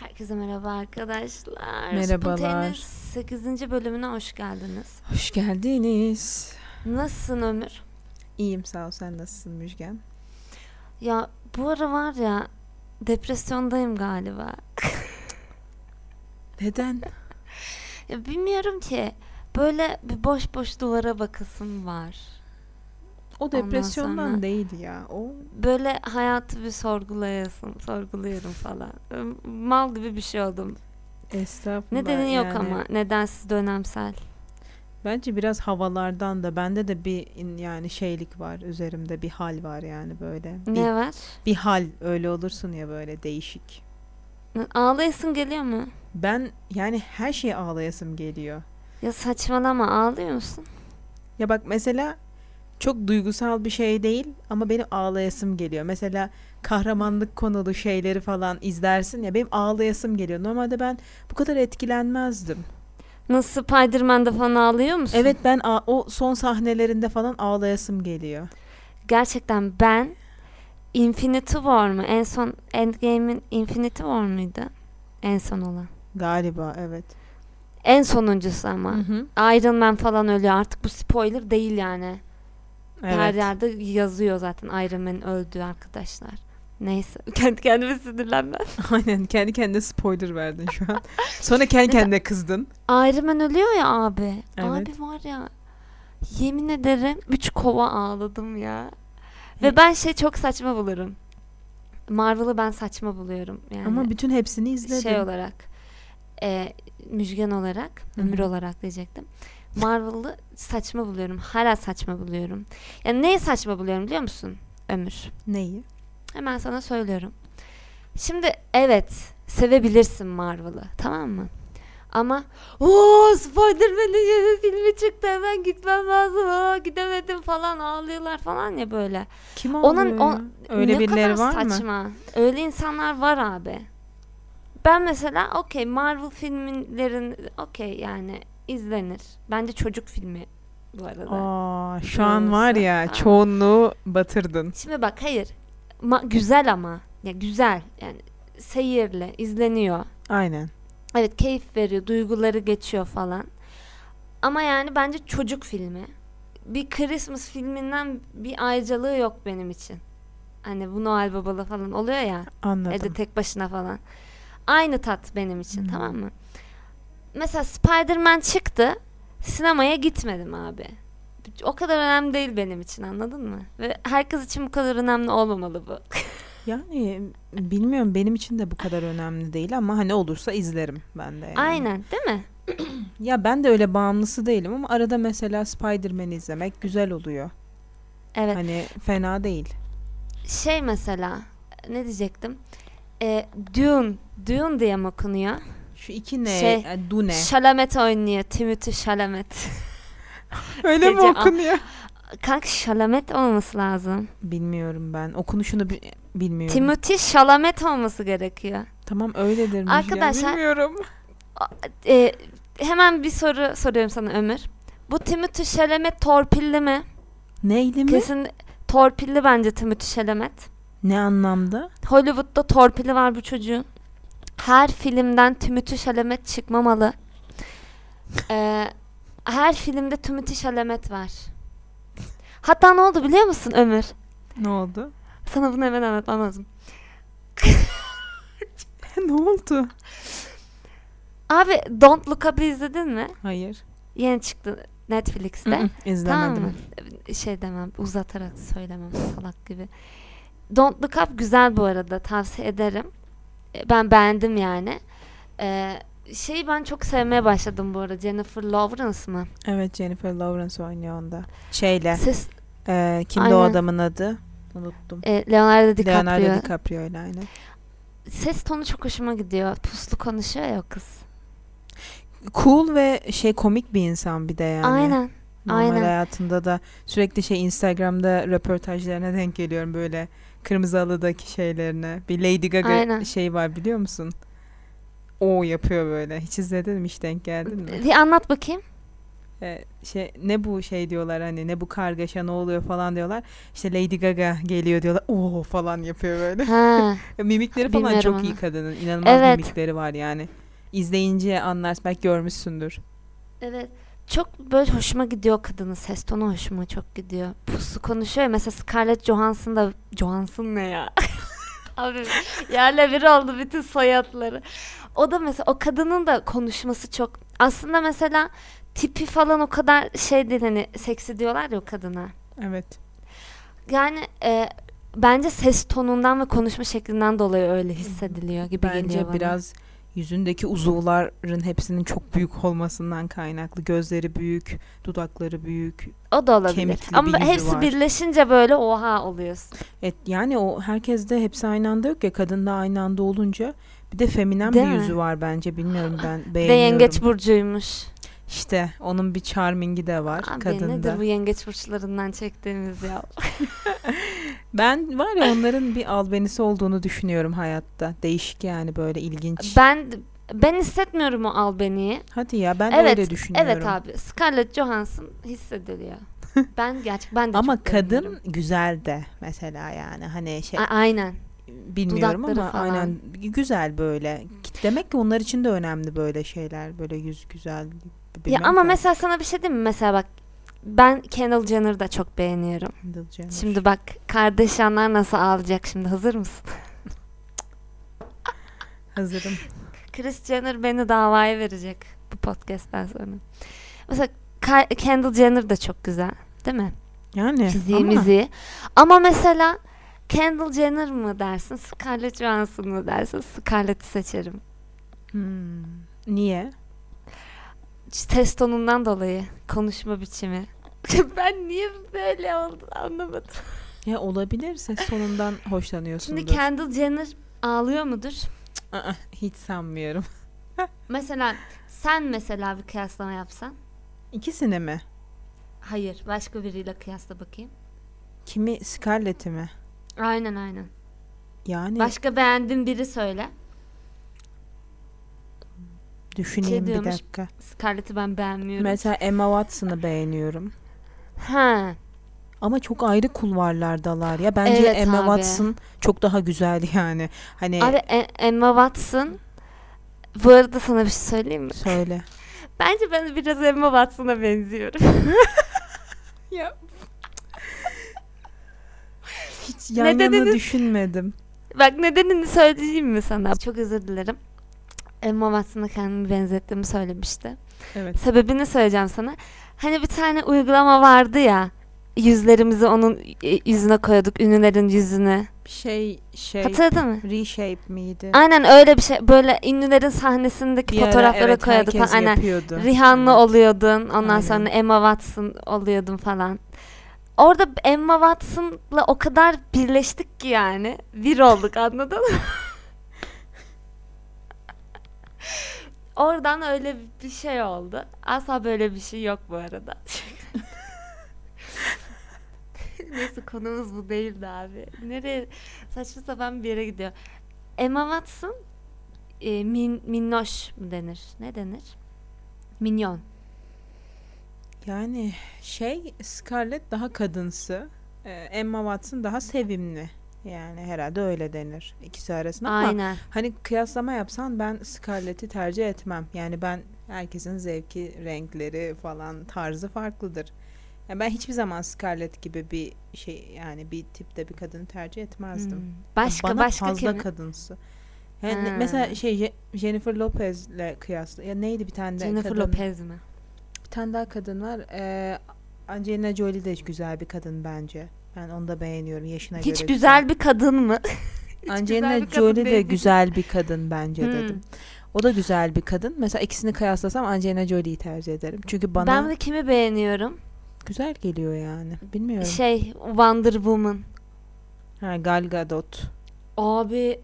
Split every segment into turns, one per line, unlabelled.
Herkese merhaba arkadaşlar.
Merhabalar.
Spontaine'in 8. bölümüne hoş geldiniz.
Hoş geldiniz.
Nasılsın Ömür?
İyiyim sağ ol. Sen nasılsın Müjgan?
Ya bu ara var ya depresyondayım galiba.
Neden?
Ya bilmiyorum ki böyle bir boş boş duvara bakasım var.
O
Ondan
depresyondan
sonra-
değil ya. O
Böyle hayatı bir sorgulayasım, sorguluyorum falan. Mal gibi bir şey oldum.
estağfurullah.
Nedeni yok
yani.
ama nedensiz dönemsel.
Bence biraz havalardan da bende de bir in- yani şeylik var üzerimde bir hal var yani böyle. Bir,
Ne var?
bir hal öyle olursun ya böyle değişik.
Ağlayasın geliyor mu?
Ben yani her şeye ağlayasım geliyor.
Ya saçmalama ağlıyor musun?
Ya bak mesela çok duygusal bir şey değil ama benim ağlayasım geliyor. Mesela kahramanlık konulu şeyleri falan izlersin ya benim ağlayasım geliyor. Normalde ben bu kadar etkilenmezdim.
Nasıl Spider-Man'de falan ağlıyor musun?
Evet ben a- o son sahnelerinde falan ağlayasım geliyor.
Gerçekten ben Infinity War mu? En son Endgame'in Infinity War muydu? En son olan.
Galiba evet.
En sonuncusu ama.
Hı hı.
Iron Man falan ölüyor. Artık bu spoiler değil yani. Her
Evet.
yerde yazıyor zaten Iron Man öldü arkadaşlar. Neyse. Kendi kendime sinirlenmem.
Aynen kendi kendine spoiler verdin şu an. Sonra kendi kendine kızdın.
Iron Man ölüyor ya abi.
Evet.
Abi var ya. Yemin ederim 3 kova ağladım ya. Ve ben şey çok saçma bulurum. Marvel'ı ben saçma buluyorum. Yani.
Ama bütün hepsini izledin.
şey olarak e, müjgan olarak
Hı
ömür
hı.
olarak diyecektim Marvel'ı saçma buluyorum hala saçma buluyorum yani neye saçma buluyorum biliyor musun ömür
Neyi?
hemen sana söylüyorum şimdi evet sevebilirsin Marvel'ı tamam mı ama o Spider-Man'in yeni filmi çıktı hemen gitmem lazım aa, gidemedim falan ağlıyorlar falan ya böyle
Kim
Onun-
ağlıyor?
o-
ya? Öyle
ne
birileri
kadar
var mı?
saçma. Öyle insanlar var abi. Ben mesela okey Marvel filmlerin okey yani izlenir. Bence çocuk filmi bu arada.
Aa, şu
Ne
an var
olursa.
ya
Aa.
çoğunluğu batırdın.
Şimdi bak hayır. Ma- güzel ama. Ya güzel. Yani seyirli izleniyor.
Aynen.
Evet keyif veriyor, duyguları geçiyor falan. Ama yani bence çocuk filmi. Bir Christmas filminden bir ayrıcalığı yok benim için. Hani bu Noel Babalı falan oluyor ya.
Anladım.
Evde tek başına falan. Aynı tat benim için
Hmm.
tamam mı? Mesela Spider-Man çıktı. Sinemaya gitmedim abi. O kadar önemli değil benim için anladın mı? Ve herkes için bu kadar önemli olmamalı bu.
Yani bilmiyorum benim için de bu kadar önemli değil ama hani olursa izlerim ben de. yani.
Aynen değil mi?
Ya ben de öyle bağımlısı değilim ama arada mesela Spider-Man izlemek güzel oluyor.
Evet.
Hani fena değil.
Şey mesela ne diyecektim? Ee, Dune. Dune diye mi okunuyor?
Şu iki ne?
Şey,
e, du ne?
Chalamet oynuyor. Timothy Chalamet.
öyle mi
gece-
okunuyor?
Kanka Chalamet olması lazım.
Bilmiyorum ben. Okunuşunu bi- bilmiyorum.
Timothy Chalamet olması gerekiyor.
tamam öyledir. mi?
Arkadaşlar-
Ya bilmiyorum.
Ee, hemen bir soru soruyorum sana Ömür. Bu Timothy Chalamet torpilli mi?
Neyli mi?
Kesin torpilli bence Timothy Chalamet.
Ne anlamda?
Hollywood'da torpili var bu çocuğun. Her filmden Timothy Chalamet çıkmamalı. Ee, her filmde Timothy Chalamet var. Hatta ne oldu biliyor musun Ömür?
Ne oldu?
Sana bunu hemen anlatmam lazım.
ne oldu?
Abi Don't Look Up'ı izledin mi?
Hayır.
Yeni çıktı Netflix'te.
Mm-mm, İzlemedim.
Tamam mı? Şey demem, uzatarak söylemem salak gibi. Don't Look Up güzel bu arada, tavsiye ederim. E, Ben beğendim yani. Ee, şeyi ben çok sevmeye başladım bu arada, Jennifer Lawrence mı?
Evet Jennifer Lawrence oynuyor onda. Şeyle.
Ses,
Ee, kimdi o
Aynen.
adamın adı? Unuttum.
e, Leonardo DiCaprio.
Leonardo DiCaprio ile aynı.
Ses tonu çok hoşuma gidiyor, puslu konuşuyor ya o kız.
Cool ve şey komik bir insan bir de yani.
Aynen.
Normal
aynen.
hayatında da sürekli şey Instagram'da röportajlarına denk geliyorum böyle kırmızı halıdaki şeylerine. Bir Lady Gaga
Aynen.
şey var biliyor musun? O yapıyor böyle. Hiç izledin mi? Hiç denk geldin mi?
Bir anlat bakayım.
e, şey ne bu şey diyorlar hani ne bu kargaşa ne oluyor falan diyorlar. İşte Lady Gaga geliyor diyorlar. Oo falan yapıyor böyle.
Ha,
Mimikleri falan
Bilmiyorum
çok
onu.
iyi kadının. İnanılmaz
Evet.
mimikleri var yani. İzleyince anlarsın belki görmüşsündür.
evet. Çok böyle hoşuma gidiyor kadının ses tonu hoşuma çok gidiyor. Pusu konuşuyor ya mesela Scarlett Johansson da Johansson ne ya? Abi yerle bir oldu bütün soyadları. O da mesela o kadının da konuşması çok aslında mesela tipi falan o kadar şey değil hani seksi diyorlar ya o kadına.
Evet.
Yani e, bence ses tonundan ve konuşma şeklinden dolayı öyle hissediliyor gibi geliyor
Bence
bana.
biraz yüzündeki uzuvların hepsinin çok büyük olmasından kaynaklı. Gözleri büyük, dudakları büyük.
o da olabilir.
kemikli
Ama
bir yüzü
hepsi
var.
birleşince böyle oha oluyorsun.
Et, yani o herkeste hepsi aynı anda yok ya. Kadın da aynı anda olunca bir de feminen
Değil
bir
mi?
yüzü var bence. Bilmiyorum ben
Bir de
beğeniyorum.
yengeç burcuymuş.
İşte onun bir charmingi de var
Abi
kadında.
nedir bu yengeç burçlarından çektiğimiz ya?
Ben var ya onların bir albenisi olduğunu düşünüyorum hayatta. Değişik yani böyle ilginç.
ben ben hissetmiyorum o albeniyi.
Hadi ya ben
Evet,
öyle düşünüyorum.
Evet abi Scarlett Johansson hissediliyor. ben gerçek ben de
Ama
çok beğeniyorum.
kadın güzel de mesela yani hani şey
A- aynen.
bilmiyorum
dudakları
ama
falan.
aynen güzel böyle. Demek ki onlar için de önemli böyle şeyler böyle yüz güzel. bilmem
ya ama
ki.
mesela sana bir şey diyeyim mi? Mesela bak ben Kendall Jenner'ı da çok beğeniyorum.
Kendall Jenner.
Şimdi bak kardeşanlar nasıl ağlayacak şimdi hazır mısın?
hazırım.
Chris Jenner beni davaya verecek bu podcast'ten sonra. Mesela Ka- Kendall Jenner de çok güzel değil mi?
Yani ama
Fiziğimizi. Ama. mesela Kendall Jenner mı dersin, Scarlett Johansson mı dersin? Scarlett'i seçerim.
Hmm, niye?
Ses tonundan dolayı konuşma biçimi. ben niye böyle oldu anlamadım.
Ya olabilir ses tonundan hoşlanıyorsundur.
Şimdi Kendall Jenner ağlıyor mudur?
Aa, hiç sanmıyorum.
Mesela sen mesela bir kıyaslama yapsan.
İkisini mi?
Hayır, başka biriyle kıyasla bakayım.
Kimi Scarlett'i mi?
Aynen aynen.
Yani
Başka beğendiğin biri söyle. şey
düşüneyim bir
diyormuş,
dakika.
Scarlett'i ben beğenmiyorum.
Mesela Emma Watson'ı beğeniyorum.
Ha.
Ama çok ayrı kulvarlardalar ya. Bence
Evet
Emma
abi.
Watson çok daha güzel yani. Hani
Abi E- Emma Watson bu arada sana bir şey söyleyeyim mi?
söyle.
Bence ben biraz Emma Watson'a benziyorum.
Ya. Hiç yan yana
dediniz?
düşünmedim.
Bak nedenini söyleyeyim mi sana? Çok özür dilerim. Emma Watson'a kendimi benzettiğimi söylemişti.
Evet.
Sebebini söyleyeceğim sana. Hani bir tane uygulama vardı ya. Yüzlerimizi onun e, yüzüne koyuyorduk. Ünlülerin yüzüne.
Şey şey
Hatırladın mı?
reshape miydi?
Aynen öyle bir şey. Böyle ünlülerin sahnesindeki
Bir ara
fotoğraflara
evet,
koyuyorduk.
herkes
Falan. Aynen.
yapıyordu.
Rihanna
Evet.
oluyordun. Ondan
Aynen.
sonra Emma Watson oluyordun falan. Orada Emma Watson'la o kadar birleştik ki yani. Bir olduk anladın mı? Oradan öyle bir şey oldu. Asla böyle bir şey yok bu arada. Neyse konumuz bu değildi abi. Nereye saçma sapan bir yere gidiyor. Emma Watson e, min, minnoş mu denir? Ne denir? Minyon.
Yani şey Scarlett daha kadınsı. Ee, Emma Watson daha sevimli. Yani herhalde öyle denir ikisi arasında ama
Aynen.
Hani kıyaslama yapsan ben Scarlett'i tercih etmem. Yani ben herkesin zevki, renkleri falan tarzı farklıdır. Yani ben hiçbir zaman Scarlett gibi bir şey yani bir tipte bir kadını tercih etmezdim.
Hmm. Başka
Bana
başka
fazla
kimi?
kadınsı. Yani
Ha.
ne- mesela şey Je- Jennifer Lopez'le kıyasla. Ya neydi bir tane de
Jennifer
kadın?
Lopez mi?
Bir tane daha kadın var. Ee, Angelina Jolie de güzel bir kadın bence. Ben onu da beğeniyorum yaşına göre.
Hiç güzel bir kadın mı?
Angelina
bir kadın
Jolie de
değil.
güzel bir kadın bence
Hmm.
dedim. O da güzel bir kadın. Mesela ikisini kıyaslasam Angelina Jolie'yi tercih ederim. Çünkü bana
Ben de kimi beğeniyorum?
güzel geliyor yani. Bilmiyorum.
Şey Wonder Woman.
Ha, Gal Gadot.
Abi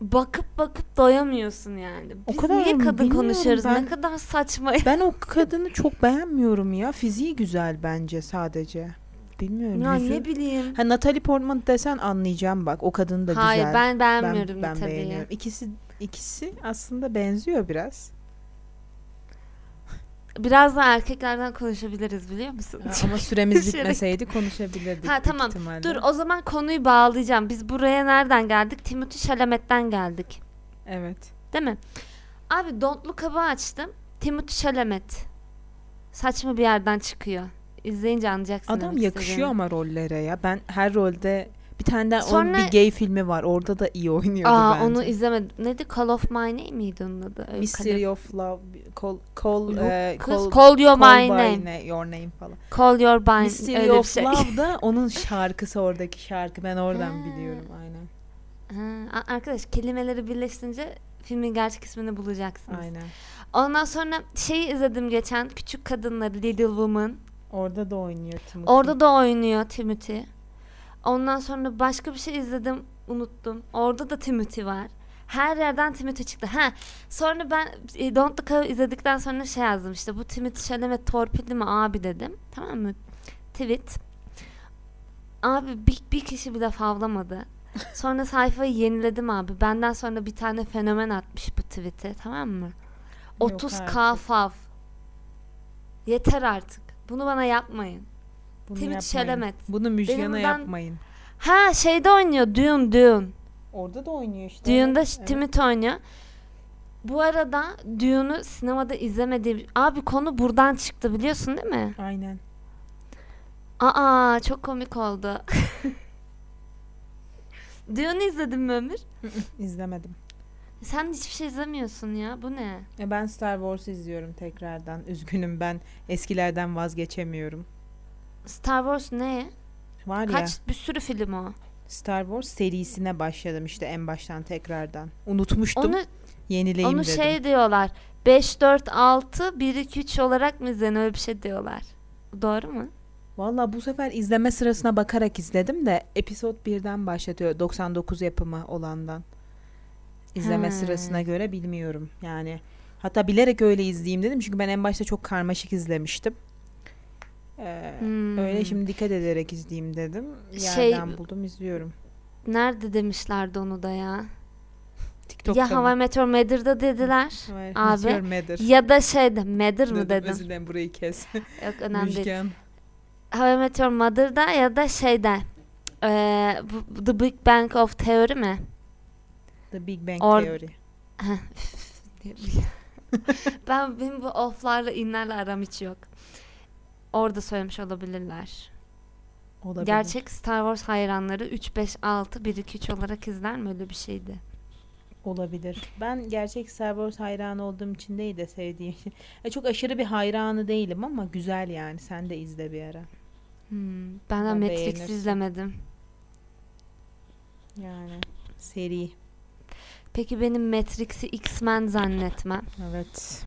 bakıp bakıp doyamıyorsun yani.
O
Biz
kadar
niye
mı?
kadın
Bilmiyorum
konuşuyoruz? Ne
ben.
kadar saçma.
Ben o kadını çok beğenmiyorum ya. Fiziği güzel bence sadece. Bilmiyorum.
ya
yüzü.
ne bileyim.
Ha, Natalie Portman desen anlayacağım bak. O kadın da
Hayır
güzel.
ben
Ben-
beğenmiyorum
ben
Natalie'yi.
beğeniyorum. İkisi ikisi aslında benziyor biraz.
Biraz daha erkeklerden konuşabiliriz biliyor musun?
Ha, Ama süremiz
Şöyle-
bitmeseydi konuşabilirdik.
Şey- Ha,
büyük
tamam.
ihtimalle.
Dur o zaman konuyu bağlayacağım. Biz buraya nereden geldik? Timothy Chalamet'ten geldik.
Evet.
Değil mi? Abi Don't Look Up'ı açtım. Timothy Chalamet. Saçma bir yerden çıkıyor. İzleyince anlayacaksın.
Adam
demek
yakışıyor
istediğimi.
ama rollere ya. Ben her rolde bir tane daha onun
Sonra-
bir gay filmi var. Orada da iyi oynuyordu
Aa
bence.
onu izlemedim. Neydi? Call of My Name miydi onun adı? Öyle kalef-
Mystery of Love, Call, call,
Yok,
e,
Kız,
call,
call, Your My Name.
Your Name falan.
Call Your My Name.
Mystery
Öyle bir
of
şey.
Love da onun şarkısı oradaki şarkı. Ben oradan
Ha.
biliyorum aynen.
Ha, a- arkadaş kelimeleri birleştirince filmin gerçek ismini bulacaksınız.
Aynen.
Ondan sonra şeyi izledim geçen. Küçük Kadınları Little Woman.
Orada da oynuyor Timothy.
Orada da oynuyor Timothy. Ondan sonra başka bir şey izledim unuttum. Orada da Timothy var. Her yerden Timothy çıktı. Ha. Sonra ben e, Don't Look Up'ı izledikten sonra şey yazdım işte bu Timothy Chalamet torpilli mi abi dedim. Tamam mı? Tweet. Abi bir, bir kişi bile favlamadı. Sonra sayfayı yeniledim abi. Benden sonra bir tane fenomen atmış bu tweet'e tamam mı?
Yok
30k
artık.
fav. Yeter artık. Bunu bana yapmayın.
Bunu
Timothy
yapmayın.
Chalamet.
Bunu
Benim
Müjgan'a
buradan-
yapmayın.
Ha şeyde oynuyor Dune Dune.
Orada da oynuyor işte.
Dune'da
evet, evet.
Timothy oynuyor. Bu arada Dune'u sinemada izlemediğim... Abi konu buradan çıktı biliyorsun değil mi?
Aynen.
Aa çok komik oldu. Dune'u izledin mi Ömür?
İzlemedim.
Sen hiçbir şey izlemiyorsun ya. Bu ne?
E, Ben Star Wars izliyorum tekrardan. Üzgünüm ben eskilerden vazgeçemiyorum.
Star Wars ne?
Var ya
Kaç bir sürü film o.
Star Wars serisine başladım işte en baştan tekrardan. Unutmuştum.
Onu
yenileyim
onu
dedim.
şey diyorlar. 5 4 6 1 2 3 olarak mı izleniyor öyle bir şey diyorlar. Doğru mu?
Valla bu sefer izleme sırasına bakarak izledim de episod 1'den başlatıyor 99 yapımı olandan. İzleme
Ha.
sırasına göre bilmiyorum yani. Hatta bilerek öyle izleyeyim dedim çünkü ben en başta çok karmaşık izlemiştim. Ee,
Hmm.
Öyle şimdi dikkat ederek izleyeyim dedim.
Şey-
Yerden buldum izliyorum.
Nerede demişlerdi onu da ya?
TikTok'ta
ya Hava
mı?
Meteor Mother'da dediler.
Hayır,
Abi,
Meteor Matter.
Ya da şeyde Mother mı
Dedim,
dedim?
Özür dilerim burayı kes.
Yok önemli değil.
Müjgan.
Hava Meteor Mother'da ya da şeyde eee, bu- The Big Bang of Theory mi?
The Big Bang
Or-
Theory.
ben benim bu off'larla inlerle aram hiç yok. Orada söylemiş olabilirler.
Olabilir.
Gerçek Star Wars hayranları 3 5 6 1 2 3 olarak izler mi öyle bir şeydi?
Olabilir. Ben gerçek Star Wars hayranı olduğum için değil de sevdiğim. Ya çok aşırı bir hayranı değilim ama güzel yani. Sen de izle bir ara.
Hmm, ben de
Ben
Matrix
beğenirsin.
izlemedim.
Yani seri.
Peki benim Matrix'i X-Men zannetmem.
Evet.